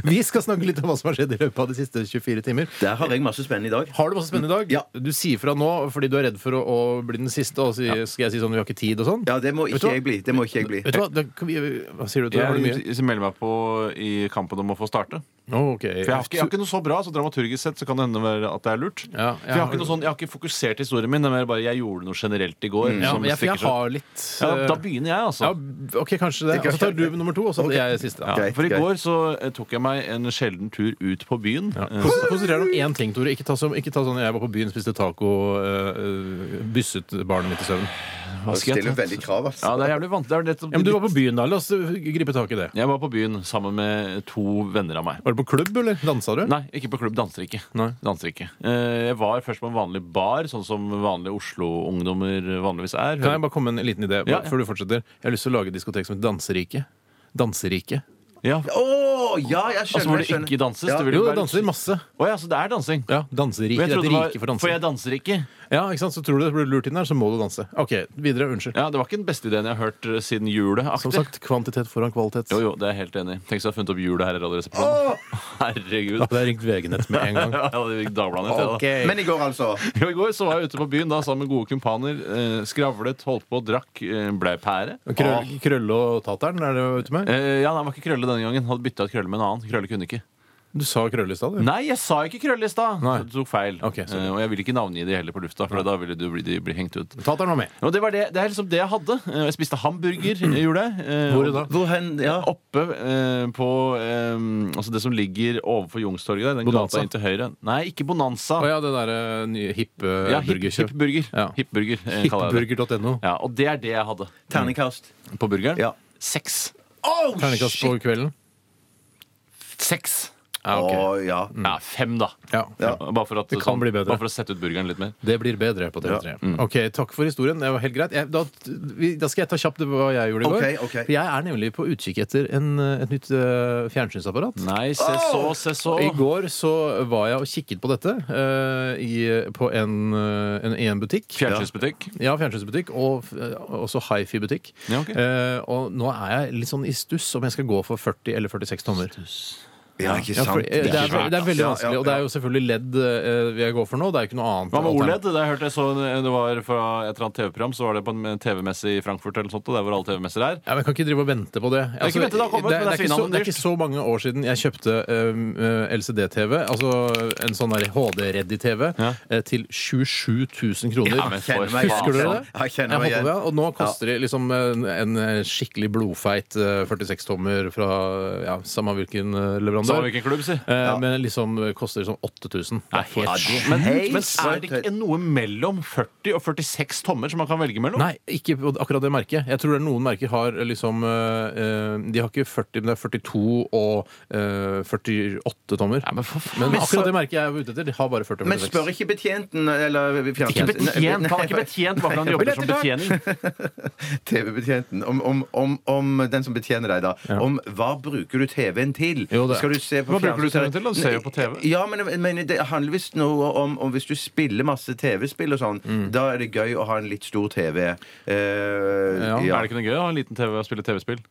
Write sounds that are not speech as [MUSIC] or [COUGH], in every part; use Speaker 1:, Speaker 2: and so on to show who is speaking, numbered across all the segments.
Speaker 1: Vi skal snakke litt om hva som har skjedd i løpet av de siste 24 timer.
Speaker 2: Der har jeg masse spennende i dag.
Speaker 1: Har du masse spennende i dag?
Speaker 2: Ja.
Speaker 1: Du sier fra nå fordi du er redd for å, å bli den siste, og si, skal jeg si sånn 'vi har ikke tid' og sånn?
Speaker 2: Ja, det må
Speaker 1: Vet du
Speaker 2: ikke
Speaker 1: hva?
Speaker 2: jeg bli. Det må ikke jeg bli.
Speaker 1: Vet du hva, da kan vi, hva sier du til det? Var det mye?
Speaker 3: Jeg melder meg på i kampen om å få starte.
Speaker 1: Å, ok.
Speaker 3: For jeg har, ikke, jeg har ikke noe så bra, så dramaturgisk sett så kan det hende være at det er lurt.
Speaker 1: Ja,
Speaker 3: For jeg, har ikke noe sånn, jeg har ikke fokusert historien min, det er mer bare jeg gjorde noe generelt i går.
Speaker 1: Mm. ja,
Speaker 3: som
Speaker 1: men jeg, for jeg
Speaker 3: stikker seg.
Speaker 1: har litt
Speaker 3: ja, Da
Speaker 1: eh,
Speaker 3: begynner jeg, altså.
Speaker 1: ja, OK, kanskje det. Og så tar du nummer to, og så jeg siste. da.
Speaker 2: Greit,
Speaker 3: For i
Speaker 2: greit.
Speaker 3: går så eh, tok jeg meg en sjelden tur ut på byen. Eh,
Speaker 1: Kons- Konsentrer deg om én ting, Tore. Ikke ta, som, ikke ta sånn jeg var på byen, spiste taco, øh, øh, bysset barnet mitt i søvn.
Speaker 3: hva
Speaker 2: Du
Speaker 3: skal jeg
Speaker 2: stiller
Speaker 3: ta?
Speaker 2: veldig krav, altså.
Speaker 3: Ja, det er jævlig vanskelig. Det er nettopp-
Speaker 1: Ja, men du var på byen da. La oss øh, gripe tak i det.
Speaker 3: Jeg var på byen sammen med to venner av meg.
Speaker 1: Var du på klubb, eller? Dansa du?
Speaker 3: Nei, ikke på klubb. Danser ikke.
Speaker 1: Nei.
Speaker 3: Danser ikke. Eh, Jeg var først på en vanlig bar, sånn som vanlige Oslo-ungdommer vanligvis er.
Speaker 1: Kan jeg bare komme med en liten idé
Speaker 3: Ja, ja.
Speaker 1: før du fortsetter? Jeg har lyst til å lage et diskotek som heter Danserike. Danserike.
Speaker 3: Ja.
Speaker 2: Å, ja, jeg skjønner.
Speaker 3: Altså
Speaker 2: jeg
Speaker 3: hvor det
Speaker 2: skjønner.
Speaker 3: ikke danses.
Speaker 2: Ja.
Speaker 3: Det ville
Speaker 1: Jo,
Speaker 3: være-
Speaker 1: det danser masse.
Speaker 3: Å ja, så det er dansing?
Speaker 1: Ja, Danserike. Det
Speaker 3: Men jeg
Speaker 1: er et
Speaker 3: trodde det var-
Speaker 1: rike for
Speaker 3: For jeg
Speaker 1: dansing.
Speaker 3: danser ikke.
Speaker 1: Ja, ikke sant? Så tror du det blir lurt inn der, så må du danse. OK, videre. Unnskyld.
Speaker 3: Ja, Det var ikke den beste ideen jeg har hørt eh, siden julet. aktig.
Speaker 1: Som sagt, kvantitet foran kvalitet.
Speaker 3: Jo, jo, det er jeg helt enig i. Tenk hvis jeg har funnet opp julet her i Radioresepsjonen. [LAUGHS] Herregud.
Speaker 1: Da hadde jeg ringt VG-nett med en gang.
Speaker 3: [LAUGHS] Ja, det gikk Dagbladet ned til, da.
Speaker 1: Men-
Speaker 2: Men i går, altså.
Speaker 3: Jo, I går så var jeg ute på byen da, sammen med gode kumpaner. Eh, skravlet, holdt på, drakk, eh, blei pære.
Speaker 1: Krøll, krølle og tateren, er det du er ute med?
Speaker 3: Eh, ja, nei, det var ikke Krølle denne gangen. Hadde bytta ut Krølle med en annen. Krølle kunne ikke.
Speaker 1: Du sa krølle i stad, du.
Speaker 3: Nei, jeg sa ikke Krølle i stad!
Speaker 1: Nei.
Speaker 3: Du tok feil.
Speaker 1: Ok, sorry.
Speaker 3: Eh, og jeg vil ikke navngi de heller på lufta, for da ville du bli, de bli hengt ut.
Speaker 1: Tateren var med.
Speaker 3: Og det, var det, det er liksom det jeg hadde. Eh, Jeg spiste hamburger i jula. eh,
Speaker 1: Hvor da?
Speaker 3: og-
Speaker 2: Hvor hen Ja.
Speaker 3: Oppe eh, på eh, altså det som ligger overfor Youngstorget der. Den
Speaker 1: Bonanza?
Speaker 3: gata inn til høyre. Nei, ikke Bonanza.
Speaker 1: Å ja, det eh, derre nye hippe
Speaker 3: ja, hip-
Speaker 1: burgerkjøp.
Speaker 3: Hipburger.
Speaker 1: Ja.
Speaker 3: Hipburger, eh, kaller jeg det.
Speaker 1: Hippeburger.no.
Speaker 3: Ja, og det er det jeg hadde.
Speaker 2: Terningkast.
Speaker 3: På burgeren?
Speaker 2: Ja.
Speaker 3: Seks.
Speaker 2: Oh,
Speaker 1: Terningkast på kvelden.
Speaker 3: Seks.
Speaker 1: Ja, ok.
Speaker 2: Å, ja.
Speaker 3: Ja, fem, da.
Speaker 1: Ja.
Speaker 2: Ja.
Speaker 3: Bare, for at,
Speaker 1: Mm. Det kan
Speaker 3: sånn,
Speaker 1: bli bedre.
Speaker 3: bare for å sette ut burgeren litt mer.
Speaker 1: Det blir bedre på TV3. Ok, Takk for historien. Det var helt greit. Jeg, da, vi, da skal jeg ta kjapt hva jeg gjorde i går.
Speaker 2: Ok, ok.
Speaker 1: For jeg er nemlig på utkikk etter en, et nytt eh, fjernsynsapparat.
Speaker 3: Nei, se så, se så.
Speaker 1: I går så var jeg og kikket på dette eh, i, på en, eh, en, i en butikk.
Speaker 3: Fjernsynsbutikk.
Speaker 1: Ja, fjernsynsbutikk, og f- eh, også hifi-butikk.
Speaker 3: Ja, ok.
Speaker 1: Eh, og nå er jeg litt sånn i stuss om jeg skal gå for 40 eller 46 tommer.
Speaker 2: ja, ikke
Speaker 1: Ja, for,
Speaker 2: sant.
Speaker 1: eh, det, er,
Speaker 3: svært,
Speaker 1: det er veldig
Speaker 2: ass. Ja,
Speaker 1: vanskelig,
Speaker 2: ja,
Speaker 1: og det er jo selvfølgelig ledd eh, jeg går for nå. Det er jo ikke noe annet.
Speaker 3: Hva med
Speaker 1: alternativ.
Speaker 3: OLED? Det jeg hørte jeg så det var fra et eller annet TV-program, så var det på en TV-messe i Frankfurt eller noe sånt, og der hvor alle TV-messer er.
Speaker 1: Ja, men jeg kan ikke drive og vente på det. Altså,
Speaker 3: ikke vente, det har kommet,
Speaker 1: det,
Speaker 3: men det er
Speaker 1: ikke så, det
Speaker 3: finalen
Speaker 1: er ikke så mange år siden jeg kjøpte um, eh, LCD-TV, altså en sånn der HD-ready-TV,
Speaker 3: Ja.
Speaker 1: eh, til 27 000 kroner.
Speaker 3: Ja, men for
Speaker 2: Kjenner meg
Speaker 1: Husker dere det?
Speaker 3: faen.
Speaker 2: Ja, jeg kjenner meg
Speaker 1: håper
Speaker 2: igjen.
Speaker 1: det, Og nå koster det liksom en, en skikkelig blodfeit eh, 46-tommer fra ja, samme hvilken eh, leverandør.
Speaker 3: Samme hvilken klubb, si.
Speaker 1: Eh, Men liksom eh, koster sånn 8000. Det er helt
Speaker 3: Helt
Speaker 1: sjukt.
Speaker 3: sjukt. Men,
Speaker 2: helt
Speaker 3: men er det
Speaker 2: svært
Speaker 3: ikke noe mellom 40 og 46 tommer som man kan velge mellom?
Speaker 1: Nei, ikke på akkurat det merket. Jeg tror det er noen merker har liksom eh, eh, De har ikke 40, men det er 42 og eh, 48 tommer.
Speaker 3: Nei, men for faen.
Speaker 1: Men
Speaker 3: Men
Speaker 1: akkurat det merket jeg er ute etter, de har bare 40
Speaker 2: Men spør ikke betjenten eller
Speaker 3: Ikke
Speaker 2: fjernsyn-
Speaker 3: betjent! Han
Speaker 2: [LAUGHS] Nei,
Speaker 3: er ikke betjent bare [LAUGHS] fordi han jobber som betjening.
Speaker 2: TV-betjenten. Om, om, om, om den som betjener deg, da. Om hva bruker du TV-en til?
Speaker 1: Jo, det-
Speaker 2: Skal du se på
Speaker 3: Hva bruker du
Speaker 2: fjernsyn-
Speaker 3: TV-en til, da? Du ser jo på TV.
Speaker 2: Ja, men, men det handler visst noe om, om hvis du spiller masse TV-spill og sånn,
Speaker 3: Mm.
Speaker 2: da er det gøy å ha en litt stor TV. Eh, ja.
Speaker 3: Er det ikke noe gøy å ha en liten TV og spille TV-spill?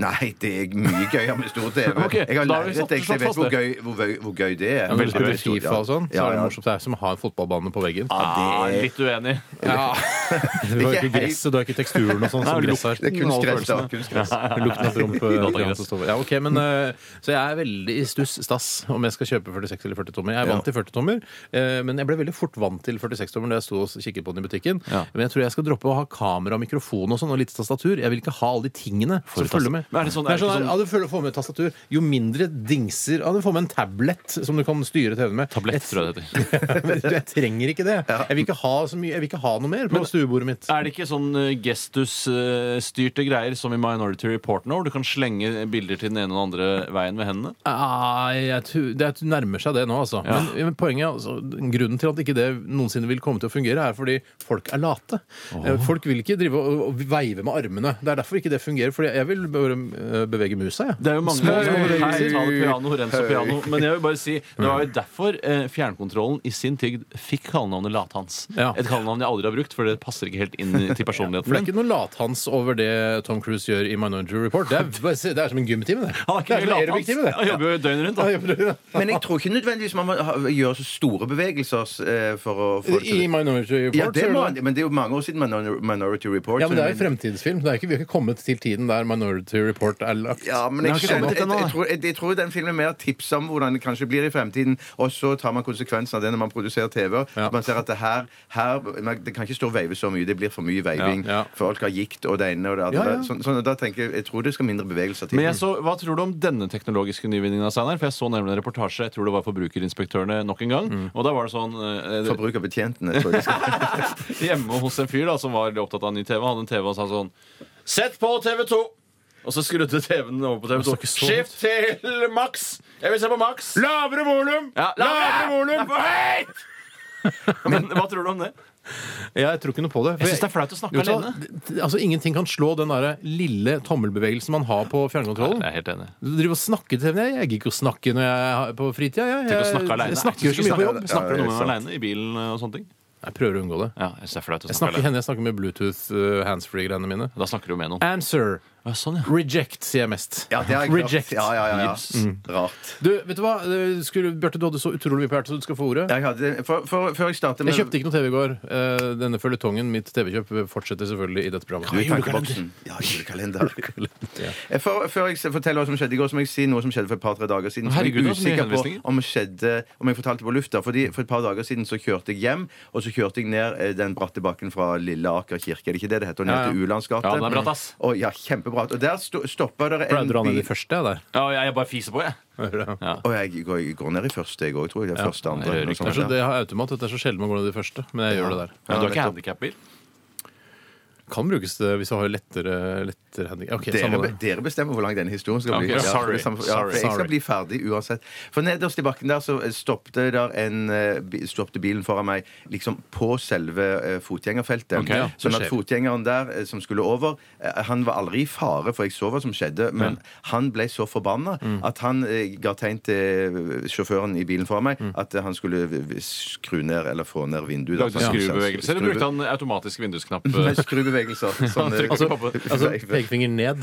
Speaker 2: Nei, det er mye gøyere med stor TV.
Speaker 3: [LAUGHS] Ok,
Speaker 2: Jeg har
Speaker 3: da har vi
Speaker 2: lært
Speaker 3: satt-
Speaker 2: det, jeg
Speaker 3: slått
Speaker 2: vet
Speaker 3: fast
Speaker 2: hvor
Speaker 3: det.
Speaker 2: gøy, hvor, vøy- hvor gøy det er.
Speaker 1: Når du spiller
Speaker 2: Veldig
Speaker 1: Fifa og sånn, så
Speaker 2: Ja,
Speaker 1: er det
Speaker 2: ja.
Speaker 1: morsomt. Det er som å ha en fotballbane på veggen.
Speaker 3: Ah, litt uenig.
Speaker 1: [LAUGHS] Ja. Du har ikke
Speaker 2: helt-
Speaker 1: gresset, du har ikke teksturen og sånn som gress her.
Speaker 2: Det er kunstgress, da. Kunstgress.
Speaker 1: Lukten av
Speaker 3: [LAUGHS]
Speaker 1: promp. eh,
Speaker 3: Datagress.
Speaker 1: grann som står over. Ja, ok, men,
Speaker 3: Mm.
Speaker 1: eh, så jeg er veldig i stuss stass om jeg skal kjøpe 46 eller 40 tommer. Jeg er vant til 40 tommer, eh, men jeg ble veldig fort vant til 46 tommer da jeg sto og kikket på den i butikken.
Speaker 3: Ja.
Speaker 1: Men jeg tror jeg skal droppe å ha kamera, mikrofon og sånn, og litt tastatur. Jeg vil ikke ha alle de tingene som
Speaker 3: tas-
Speaker 1: følger med.
Speaker 3: Men er det sånn-
Speaker 1: det
Speaker 3: er det ikke
Speaker 1: sånn,
Speaker 3: sånn-
Speaker 1: ja, du føler- får med tastatur. Jo mindre dingser Ja, du får med en tablet som du kan styre TV-en med.
Speaker 3: Tablett, tror jeg det heter.
Speaker 1: jeg, [LAUGHS] men jeg trenger ikke det. Jeg vil ikke ha så mye Jeg vil ikke ha noe mer på stuebordet mitt.
Speaker 3: [LAUGHS] Er det ikke sånn eh, gestusstyrte greier som i Minority Report nå, hvor du kan slenge bilder til den ene og den andre veien med hendene?
Speaker 1: Ah, jeg tror- det er- nærmer seg det nå, altså. Men, men poenget, er altså. Grunnen til at ikke det noensinne vil komme til å fungere, er fordi folk er late. Eh, Folk vil ikke drive og, og veive med armene. Det er derfor ikke det fungerer. Fordi jeg vil bare for å eh, bevege musa, jeg.
Speaker 3: Det er jo mange
Speaker 1: Hei!
Speaker 3: som kan tale piano, rense piano. Men jeg vil bare si, det var jo
Speaker 1: Mm.
Speaker 3: derfor eh, fjernkontrollen i sin tid fikk kallenavnet Lathans.
Speaker 1: Ja.
Speaker 3: Et kallenavn jeg aldri har brukt, for det passer ikke helt inn i- til
Speaker 1: For det er
Speaker 3: personligheten min.
Speaker 1: ikke noe lathans over det Tom Cruise gjør i Minority Report. Det er, bare se- det er som en gymtime, det.
Speaker 3: Han er ikke
Speaker 1: det
Speaker 3: mye
Speaker 1: som en
Speaker 3: lathans.
Speaker 1: aerobic-time, det.
Speaker 3: Han jobber jo døgnet rundt. Da.
Speaker 2: Men jeg tror ikke nødvendigvis man må ha- gjøre så store bevegelser eh, for å få det
Speaker 1: I
Speaker 2: til.
Speaker 1: Minority Report.
Speaker 2: Ja,
Speaker 1: så
Speaker 2: det
Speaker 1: gjør
Speaker 2: må,
Speaker 1: det.
Speaker 2: men det er jo mange år siden Minor- Minority Report.
Speaker 1: ja, men det er jo
Speaker 2: men-
Speaker 1: fremtidsfilm. Det er ikke, vi har ikke kommet til tiden der Minority Report er lagt.
Speaker 2: Ja, men jeg,
Speaker 3: Den har ikke
Speaker 2: skjønner,
Speaker 3: kommet
Speaker 2: jeg,
Speaker 3: ennå,
Speaker 2: jeg,
Speaker 3: da.
Speaker 2: tror, jeg, jeg tror den filmen mer tipser om hvordan det kanskje blir i fremtiden, og så tar man konsekvensen av det når man produserer TV.
Speaker 1: Ja.
Speaker 2: Man ser at det her, her man, Det kan ikke stå og veive så mye. Det blir for mye veiving.
Speaker 1: Ja, ja.
Speaker 2: Folk har gikt og det ene og det andre.
Speaker 1: Ja, ja.
Speaker 2: Sånn, sånn, og da tenker jeg, jeg tror det skal mindre bevegelser til.
Speaker 3: Men jeg så, Hva tror du om denne teknologiske nyvinningen? av Steinar? For Jeg så nemlig en reportasje jeg tror det var Forbrukerinspektørene nok en gang.
Speaker 1: Mm.
Speaker 3: Og da var det sånn eh,
Speaker 2: Forbrukerbetjentene, tror jeg. det skal-
Speaker 3: hjemme hos en fyr da, som var veldig opptatt av ny TV. Han hadde en TV og sa sånn Sett på TV2! Og så skrudde TV-en over på TV2.
Speaker 1: snakker så høyt.
Speaker 3: Skift til Max! Jeg vil se på Max!
Speaker 1: Lavere volum!
Speaker 3: Ja, lavere volum! Det er for høyt! Men hva tror du om det?
Speaker 1: Jeg tror ikke noe på det. for
Speaker 3: Jeg synes det er flaut å snakke
Speaker 1: Vet du hva?
Speaker 3: alene.
Speaker 1: Det- det- Altså, ingenting kan slå den derre lille tommelbevegelsen man har på fjernkontrollen.
Speaker 3: er helt enig.
Speaker 1: Du driver og snakker til henne. Jeg jeg gidder ikke å snakke når jeg har- på fritida. Jeg,
Speaker 3: Tenk
Speaker 1: jeg,
Speaker 3: å snakke alene.
Speaker 1: jeg snakker jo så mye på jobb.
Speaker 2: Ja,
Speaker 3: Snakker du
Speaker 2: det er
Speaker 3: noen
Speaker 2: sant.
Speaker 3: gang alene i bilen og sånne ting?
Speaker 1: Jeg prøver å unngå det.
Speaker 3: Ja, jeg synes det er flaut å
Speaker 1: Jeg
Speaker 3: snakke
Speaker 1: snakker
Speaker 3: alene.
Speaker 1: henne, jeg snakker med Bluetooth uh, handsfree-greiene mine.
Speaker 3: Da snakker du jo med noen.
Speaker 1: Answer.
Speaker 3: Ja, sånn, ja.
Speaker 1: Reject, sier jeg mest.
Speaker 2: Ja, det har jeg klart.
Speaker 1: Reject. Mm.
Speaker 2: Ja, ja, ja, ja.
Speaker 3: Gips.
Speaker 2: Rart.
Speaker 1: Du, vet du hva? Det Skulle, Bjarte, du hadde så utrolig mye på hjertet, så du skal få ordet.
Speaker 2: Jeg hadde, for, for, før jeg starter med
Speaker 1: Jeg kjøpte ikke noe TV i går. Eh, Denne føljetongen, mitt TV-kjøp, fortsetter selvfølgelig i dette programmet.
Speaker 2: Tankeboksen. Ja,
Speaker 3: [LAUGHS]
Speaker 2: julekalender. Eh, For, før jeg s- forteller hva som skjedde i går, så må jeg si noe som skjedde for et par-tre dager siden. Som
Speaker 3: Herregud,
Speaker 2: jeg er usikker
Speaker 3: det var så mye henvisninger.
Speaker 2: på om, skjedde, om jeg fortalte på lufta. Fordi For et par dager siden så kjørte jeg hjem, og så kjørte jeg ned eh, den bratte bakken fra Lille Aker kirke. Er det ikke det det heter? Ned
Speaker 1: Ja, ja.
Speaker 2: til Ulandsgate.
Speaker 3: Ja, den er bratt, ass.
Speaker 2: Og, ja, kjempebratt. Og der sto, stoppa der
Speaker 1: Pleide
Speaker 2: en
Speaker 1: du å ha ned de
Speaker 2: bil
Speaker 1: første ja, der? [LAUGHS]
Speaker 3: Ja, jeg jeg bare fiser på, jeg. Ja.
Speaker 2: Og jeg går, jeg går ned i første, jeg òg, tror jeg. Det er første, andre.
Speaker 3: jeg hører
Speaker 2: noe
Speaker 3: ikke.
Speaker 2: sånt,
Speaker 1: Kanskje
Speaker 2: ja.
Speaker 1: det har automat. Det er så sjelden man går ned i de første. Men jeg gjør det der.
Speaker 3: Men du har
Speaker 2: nettopp.
Speaker 3: ikke handikapbil?
Speaker 1: Kan brukes det hvis du har lettere, lettere handicap. Ok,
Speaker 2: Dere,
Speaker 1: samme det.
Speaker 2: dere bestemmer hvor lang denne historien skal
Speaker 3: Ok,
Speaker 2: bli.
Speaker 3: sorry,
Speaker 2: det er samme- ja, for
Speaker 3: sorry,
Speaker 2: jeg
Speaker 1: sorry.
Speaker 2: skal bli ferdig uansett. For nederst i bakken der så eh, stoppte, der en, eh, bi- stoppte bilen foran meg liksom på selve eh, fotgjengerfeltet.
Speaker 3: Ok, ja,
Speaker 1: det
Speaker 2: sånn at
Speaker 1: skjer.
Speaker 2: fotgjengeren der eh, som skulle over, eh, han var aldri i fare, for jeg så hva som skjedde, men han ble så forbanna
Speaker 3: Mm.
Speaker 2: at han eh, ga tegn til sjåføren i bilen foran meg at eh, han skulle v- v- skru ned eller få ned vinduet. da.
Speaker 3: Mm. Lagde han
Speaker 2: Sånn,
Speaker 3: skrubevegelser, eller
Speaker 2: skru-
Speaker 3: brukte [LAUGHS] han automatisk vindusknapp?
Speaker 2: [LAUGHS]
Speaker 3: eh,
Speaker 2: Nei,
Speaker 3: [LAUGHS]
Speaker 2: Skrubevegelser. Sånn, eh,
Speaker 1: Altså,
Speaker 2: [LAUGHS]
Speaker 3: på-
Speaker 1: altså [LAUGHS] pekefinger ned.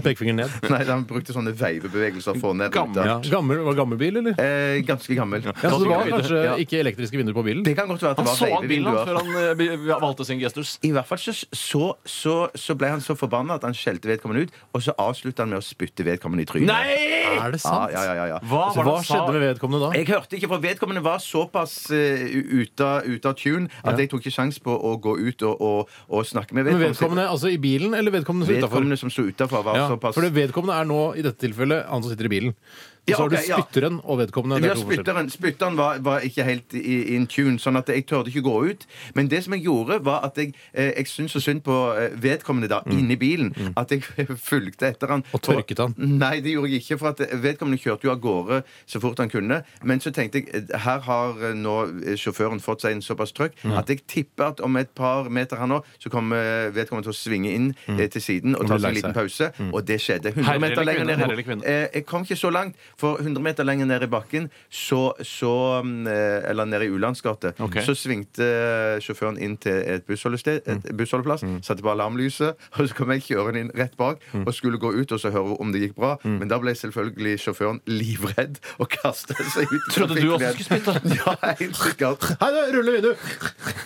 Speaker 1: Pekefinger ned.
Speaker 2: Nei, han brukte sånne veivebevegelser for ned.
Speaker 3: Gammel.
Speaker 2: ruta.
Speaker 1: Ja. Gammel, var det gammel bil, eller?
Speaker 2: Eh, ganske gammel.
Speaker 1: Ja, så det var
Speaker 3: gammel bil.
Speaker 1: kanskje
Speaker 2: Ja.
Speaker 1: ikke elektriske vinduer på bilen?
Speaker 2: Det kan godt være at det
Speaker 3: Han
Speaker 2: var
Speaker 3: så an bilen
Speaker 2: veivevinduer.
Speaker 3: hans før han eh, be- valgte sin gestus.
Speaker 2: I hvert fall så, så, så, så ble han så forbanna at han skjelte vedkommende ut, og så avslutta han med å spytte vedkommende i trynet.
Speaker 3: Nei!
Speaker 1: Er det
Speaker 2: Ja,
Speaker 1: sant?
Speaker 2: Ah, ja, ja, ja, ja.
Speaker 3: Hva
Speaker 1: Så
Speaker 3: var det
Speaker 1: hva
Speaker 3: han sa?
Speaker 1: skjedde med vedkommende da?
Speaker 2: Jeg hørte ikke, for vedkommende var såpass eh, ute av- ute av tune at jeg tok ikke sjans på å gå ut og, og, og snakke med
Speaker 1: Men
Speaker 2: vedkommende.
Speaker 1: vedkommende altså i bilen, eller vedkommende som utafor?
Speaker 2: Vedkommende som sto utafor, var
Speaker 1: Ja,
Speaker 2: såpass
Speaker 1: for det vedkommende er nå i dette tilfellet han som sitter i bilen. Og
Speaker 2: Ja,
Speaker 1: så har du
Speaker 2: ok, ja.
Speaker 1: spytteren og vedkommende. Det
Speaker 2: Ja,
Speaker 1: er to forskjellige.
Speaker 2: spytteren, spytteren var, var ikke helt i- in tune, sånn at jeg tørde ikke gå ut. Men det som jeg gjorde, var at jeg, eh, jeg syntes så synd på eh, vedkommende da, inni bilen, at jeg [LAUGHS] fulgte etter han.
Speaker 1: Mm. Og tørket han.
Speaker 2: Nei, det gjorde jeg ikke, for at eh, vedkommende kjørte jo av gårde så fort han kunne. Men så tenkte jeg, eh, her har eh, nå eh, sjåføren fått seg en såpass trøkk
Speaker 1: Mm.
Speaker 2: at jeg tipper at om et par meter her nå, så kommer eh, vedkommende til å svinge inn eh, til siden og
Speaker 1: Og
Speaker 2: ta
Speaker 1: bli Mm.
Speaker 2: seg en
Speaker 1: lei seg.
Speaker 2: liten
Speaker 1: Mm.
Speaker 2: pause, og det skjedde.
Speaker 3: Herre
Speaker 2: 100 meter
Speaker 3: eller
Speaker 2: lenger
Speaker 3: kvinne,
Speaker 2: ned. i-
Speaker 3: herre eller kvinne?
Speaker 2: Eh, jeg kom ikke så langt, for 100 meter lenger ned i bakken, så, så mm, eh, Eller nede i Ulandsgate.
Speaker 3: Ok.
Speaker 2: Så svingte eh, sjåføren inn til et, bussholdested, et
Speaker 3: Mm.
Speaker 2: bussholdeplass, satte på alarmlyset, [LAUGHS] og så kom jeg kjørende inn rett bak
Speaker 3: Mm.
Speaker 2: og skulle gå ut og så høre om det gikk bra. Men da ble selvfølgelig sjåføren livredd og kastet seg ut. i
Speaker 3: Trodde du også
Speaker 2: trafikken.
Speaker 3: skulle spytte?
Speaker 2: [LAUGHS] Ja, helt sikkert.
Speaker 1: Hei, da, rulle vinduet!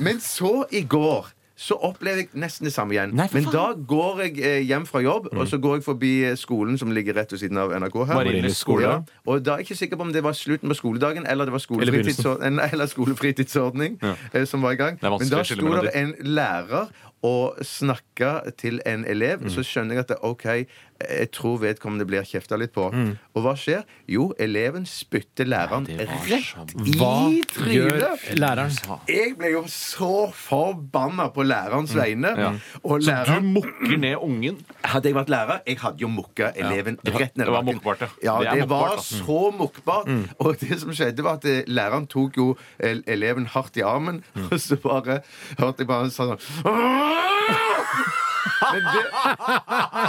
Speaker 2: Men så i går så opplever jeg nesten det samme igjen.
Speaker 3: Nei, for
Speaker 2: Men
Speaker 3: faen. Mm.
Speaker 2: da går jeg eh, hjem fra jobb, og så går jeg forbi eh, skolen som ligger rett ved siden av NRK her.
Speaker 3: Marienlyst skole,
Speaker 2: Ja. Og da er jeg ikke sikker på om det var slutten på skoledagen eller det var
Speaker 1: Eller begynnelsen.
Speaker 2: skolefritidsordning, [LAUGHS] eller skolefritidsordning eh, som var i gang.
Speaker 3: er
Speaker 2: Men
Speaker 3: vanskelig
Speaker 2: da
Speaker 3: å skille
Speaker 2: sto
Speaker 3: mellom
Speaker 2: det en lærer og snakka til en elev.
Speaker 3: Mm.
Speaker 2: Så skjønner jeg at det, OK, jeg tror vedkommende blir kjefta litt på. Og hva skjer? Jo, eleven spytter læreren
Speaker 3: Mm. det var
Speaker 2: rett
Speaker 1: Hva
Speaker 2: i
Speaker 1: gjør
Speaker 2: trynet!
Speaker 1: læreren?
Speaker 2: Jeg ble jo så forbanna på lærerens vegne. Og
Speaker 3: Du
Speaker 2: læreren
Speaker 3: mukker ned ungen.
Speaker 2: Hadde jeg vært lærer, jeg hadde jo mukka eleven
Speaker 3: var-
Speaker 2: rett ned
Speaker 3: det
Speaker 2: i
Speaker 3: var
Speaker 2: bakken.
Speaker 3: mukkbart, ja.
Speaker 2: ja.
Speaker 3: Det er altså. Mm.
Speaker 2: Det,
Speaker 3: mukkbart,
Speaker 2: var
Speaker 3: da.
Speaker 2: så mukkbart. Og det som skjedde, var at eh, læreren tok jo el- eleven
Speaker 3: Mm. [LAUGHS]
Speaker 2: hardt i armen, og så bare hørte jeg bare han sa sånn Men det,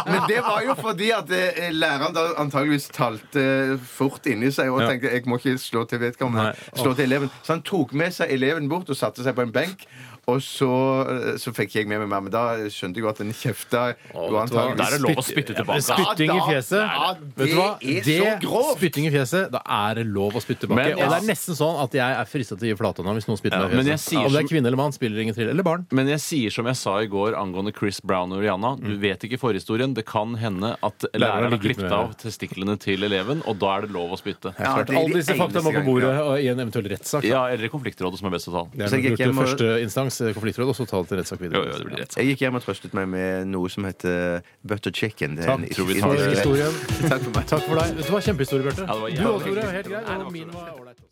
Speaker 2: men det var jo fordi at eh, læreren da antageligvis talte eh, fort inni seg og
Speaker 1: Ja.
Speaker 2: tenkte jeg må ikke slå til vedkommende.
Speaker 1: Nei.
Speaker 2: Slå til eleven. Så han tok med seg eleven bort og satte seg på en benk. Og så, eh, så fikk ikke jeg med meg mer, men da skjønte jeg jo at den kjefta
Speaker 1: Å,
Speaker 2: jo
Speaker 1: vet du hva?
Speaker 2: antageligvis
Speaker 3: Der er det lov å spytte tilbake.
Speaker 1: Ja, men Spytting i
Speaker 2: Ja, da-
Speaker 1: fjeset.
Speaker 2: Ja,
Speaker 1: Vet du hva?
Speaker 2: det er så grovt.
Speaker 1: Spytting i fjeset, da er det lov å spytte tilbake. Og
Speaker 3: Men-
Speaker 1: det er nesten sånn at jeg er frista til å gi flata nå hvis noen spytter
Speaker 3: Ja,
Speaker 1: meg i
Speaker 3: men jeg
Speaker 1: fjeset.
Speaker 3: sier
Speaker 1: Om det
Speaker 3: som-
Speaker 1: er kvinne eller mann, spiller ingen trill. Eller barn.
Speaker 3: Men jeg sier som jeg sa i går angående Chris Brown og Rihanna. Du vet ikke forhistorien. Det kan hende at læreren har
Speaker 1: ligget
Speaker 3: klippet
Speaker 1: med-
Speaker 3: av testiklene til eleven, og da er det lov å spytte.
Speaker 2: Ja, det er de
Speaker 1: Alle disse fakta må
Speaker 2: eneste
Speaker 1: på bordet og i en eventuell rettssak.
Speaker 3: Ja, eller i konfliktrådet, som er best å ta den.
Speaker 1: Det
Speaker 2: Så
Speaker 1: er
Speaker 2: jeg gikk
Speaker 1: nok lurt
Speaker 2: hjem og-
Speaker 1: til første instans, eh, konfliktråd, og så ta det til rettssak
Speaker 3: Jo,
Speaker 1: videre.
Speaker 3: jo, det blir rett.
Speaker 2: Jeg gikk hjem og trøstet meg med noe som heter butter chicken. Det er
Speaker 1: Takk.
Speaker 2: en-
Speaker 3: Tror vi
Speaker 1: Takk
Speaker 3: tar
Speaker 1: for
Speaker 3: det.
Speaker 1: historien.
Speaker 2: [LAUGHS] Takk for meg.
Speaker 1: Takk for deg. Vet du hva, kjempehistorie, Bjarte.
Speaker 3: Ja, det var
Speaker 1: Du
Speaker 3: jævlig
Speaker 1: også, Tore.
Speaker 3: hyggelig.
Speaker 1: Helt grei.
Speaker 3: Nei, det var
Speaker 1: Og
Speaker 3: ikke
Speaker 1: min
Speaker 3: noe.
Speaker 1: var ålreit.